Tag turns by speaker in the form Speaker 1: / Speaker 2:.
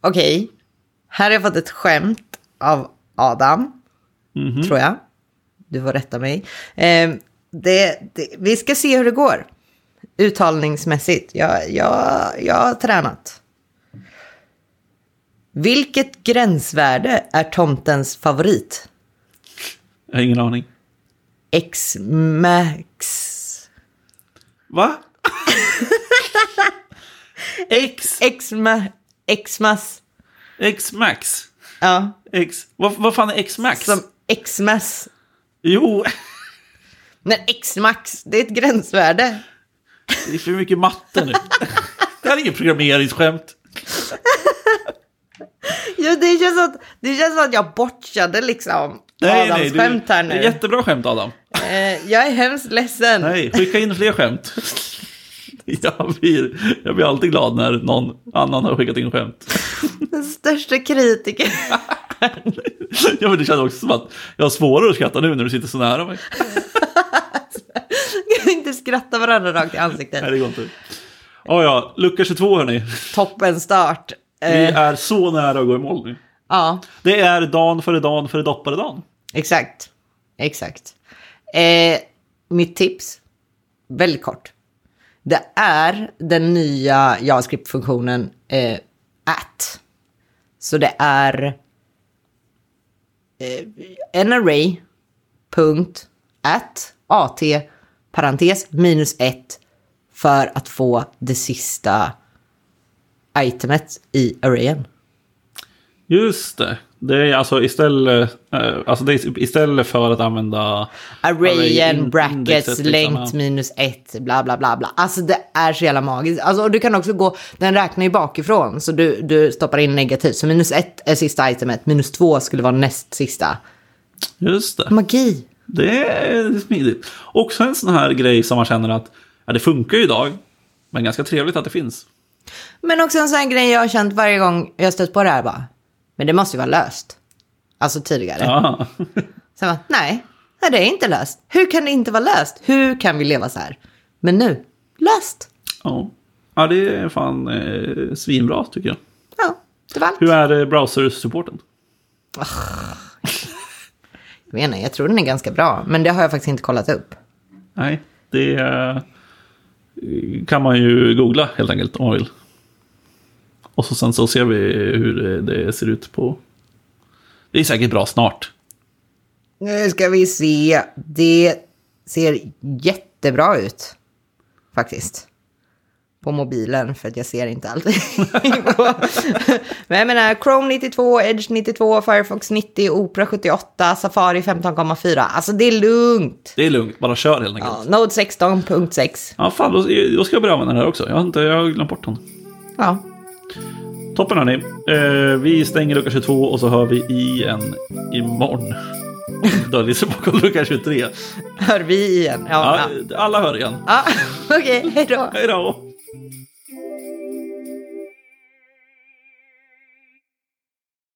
Speaker 1: Okej, här har jag fått ett skämt av Adam, tror jag. Du får rätta mig. Eh, det, det, vi ska se hur det går uttalningsmässigt. Jag, jag, jag har tränat. Vilket gränsvärde är tomtens favorit?
Speaker 2: Jag har ingen aning.
Speaker 1: X-max.
Speaker 2: Va? X,
Speaker 1: X-ma- X-mas.
Speaker 2: X-max.
Speaker 1: Ja,
Speaker 2: X. Vad, vad fan är X-max?
Speaker 1: som X-mas.
Speaker 2: Jo,
Speaker 1: Men X-max, det är ett gränsvärde.
Speaker 2: det är för mycket matte nu. Det här är inget programmeringsskämt.
Speaker 1: Ja, det, känns som att, det känns som att jag botchade liksom Adams
Speaker 2: du-
Speaker 1: skämt här nu.
Speaker 2: Det är jättebra skämt, Adam.
Speaker 1: Eh, jag är hemskt ledsen.
Speaker 2: Nej, skicka in fler skämt. Jag blir, jag blir alltid glad när någon annan har skickat in skämt.
Speaker 1: Den största kritiker.
Speaker 2: Ja, men det känns också som att jag har svårare att skratta nu när du sitter så nära mig.
Speaker 1: Kan vi inte skratta varandra rakt i ansiktet.
Speaker 2: Nej, det går inte. Ja, ja, lucka 22 hörni.
Speaker 1: Toppen start. Eh,
Speaker 2: Vi är så nära att gå i mål nu.
Speaker 1: Ja,
Speaker 2: Det är dan före dan före doppare dan.
Speaker 1: exakt. Exakt. Eh, mitt tips, väldigt kort. Det är den nya JavaScript-funktionen eh, at. Så det är eh, en array punkt at at parentes minus ett för att få det sista itemet i arrayen.
Speaker 2: Just det. Det är alltså istället, eh, alltså det är istället för att använda... Array,
Speaker 1: Arrayen,
Speaker 2: in-
Speaker 1: brackets,
Speaker 2: indexet, liksom,
Speaker 1: length
Speaker 2: ja.
Speaker 1: minus ett, bla bla bla bla. Alltså det är så jävla magiskt. Alltså, och du kan också gå, den räknar ju bakifrån så du, du stoppar in negativt. Så minus ett är sista itemet, minus två skulle vara näst sista.
Speaker 2: Just det.
Speaker 1: Magi!
Speaker 2: Det är smidigt. Också en sån här grej som man känner att ja, det funkar ju idag, men ganska trevligt att det finns.
Speaker 1: Men också en sån här grej jag har känt varje gång jag stött på det här bara. Men det måste ju vara löst. Alltså tidigare.
Speaker 2: Ja.
Speaker 1: Så jag bara, nej, nej, det är inte löst. Hur kan det inte vara löst? Hur kan vi leva så här? Men nu, löst!
Speaker 2: ja. ja, det är fan eh, svinbra tycker jag.
Speaker 1: Ja, det var allt.
Speaker 2: Hur är eh, browser-supporten?
Speaker 1: Jag menar, jag tror den är ganska bra, men det har jag faktiskt inte kollat upp.
Speaker 2: Nej, det eh, kan man ju googla helt enkelt om man vill. Och så sen så ser vi hur eh, det ser ut på... Det är säkert bra snart.
Speaker 1: Nu ska vi se. Det ser jättebra ut. Faktiskt. På mobilen, för att jag ser inte allting. Men jag menar, Chrome 92, Edge 92, Firefox 90, Opera 78, Safari 15,4. Alltså det är lugnt.
Speaker 2: Det är lugnt, bara kör helt enkelt.
Speaker 1: Ja,
Speaker 2: Ja,
Speaker 1: Node 16.6.
Speaker 2: fan, då, då ska jag börja använda den här också. Jag har, inte, jag har glömt bort den.
Speaker 1: Ja,
Speaker 2: Toppen hörni. Eh, vi stänger lucka 22 och så hör vi igen imorgon. Döljer sig bakom lucka 23.
Speaker 1: hör vi igen. Ja,
Speaker 2: Ja,
Speaker 1: ja.
Speaker 2: alla hör igen.
Speaker 1: ja. Okej, hej då.
Speaker 2: Hej då!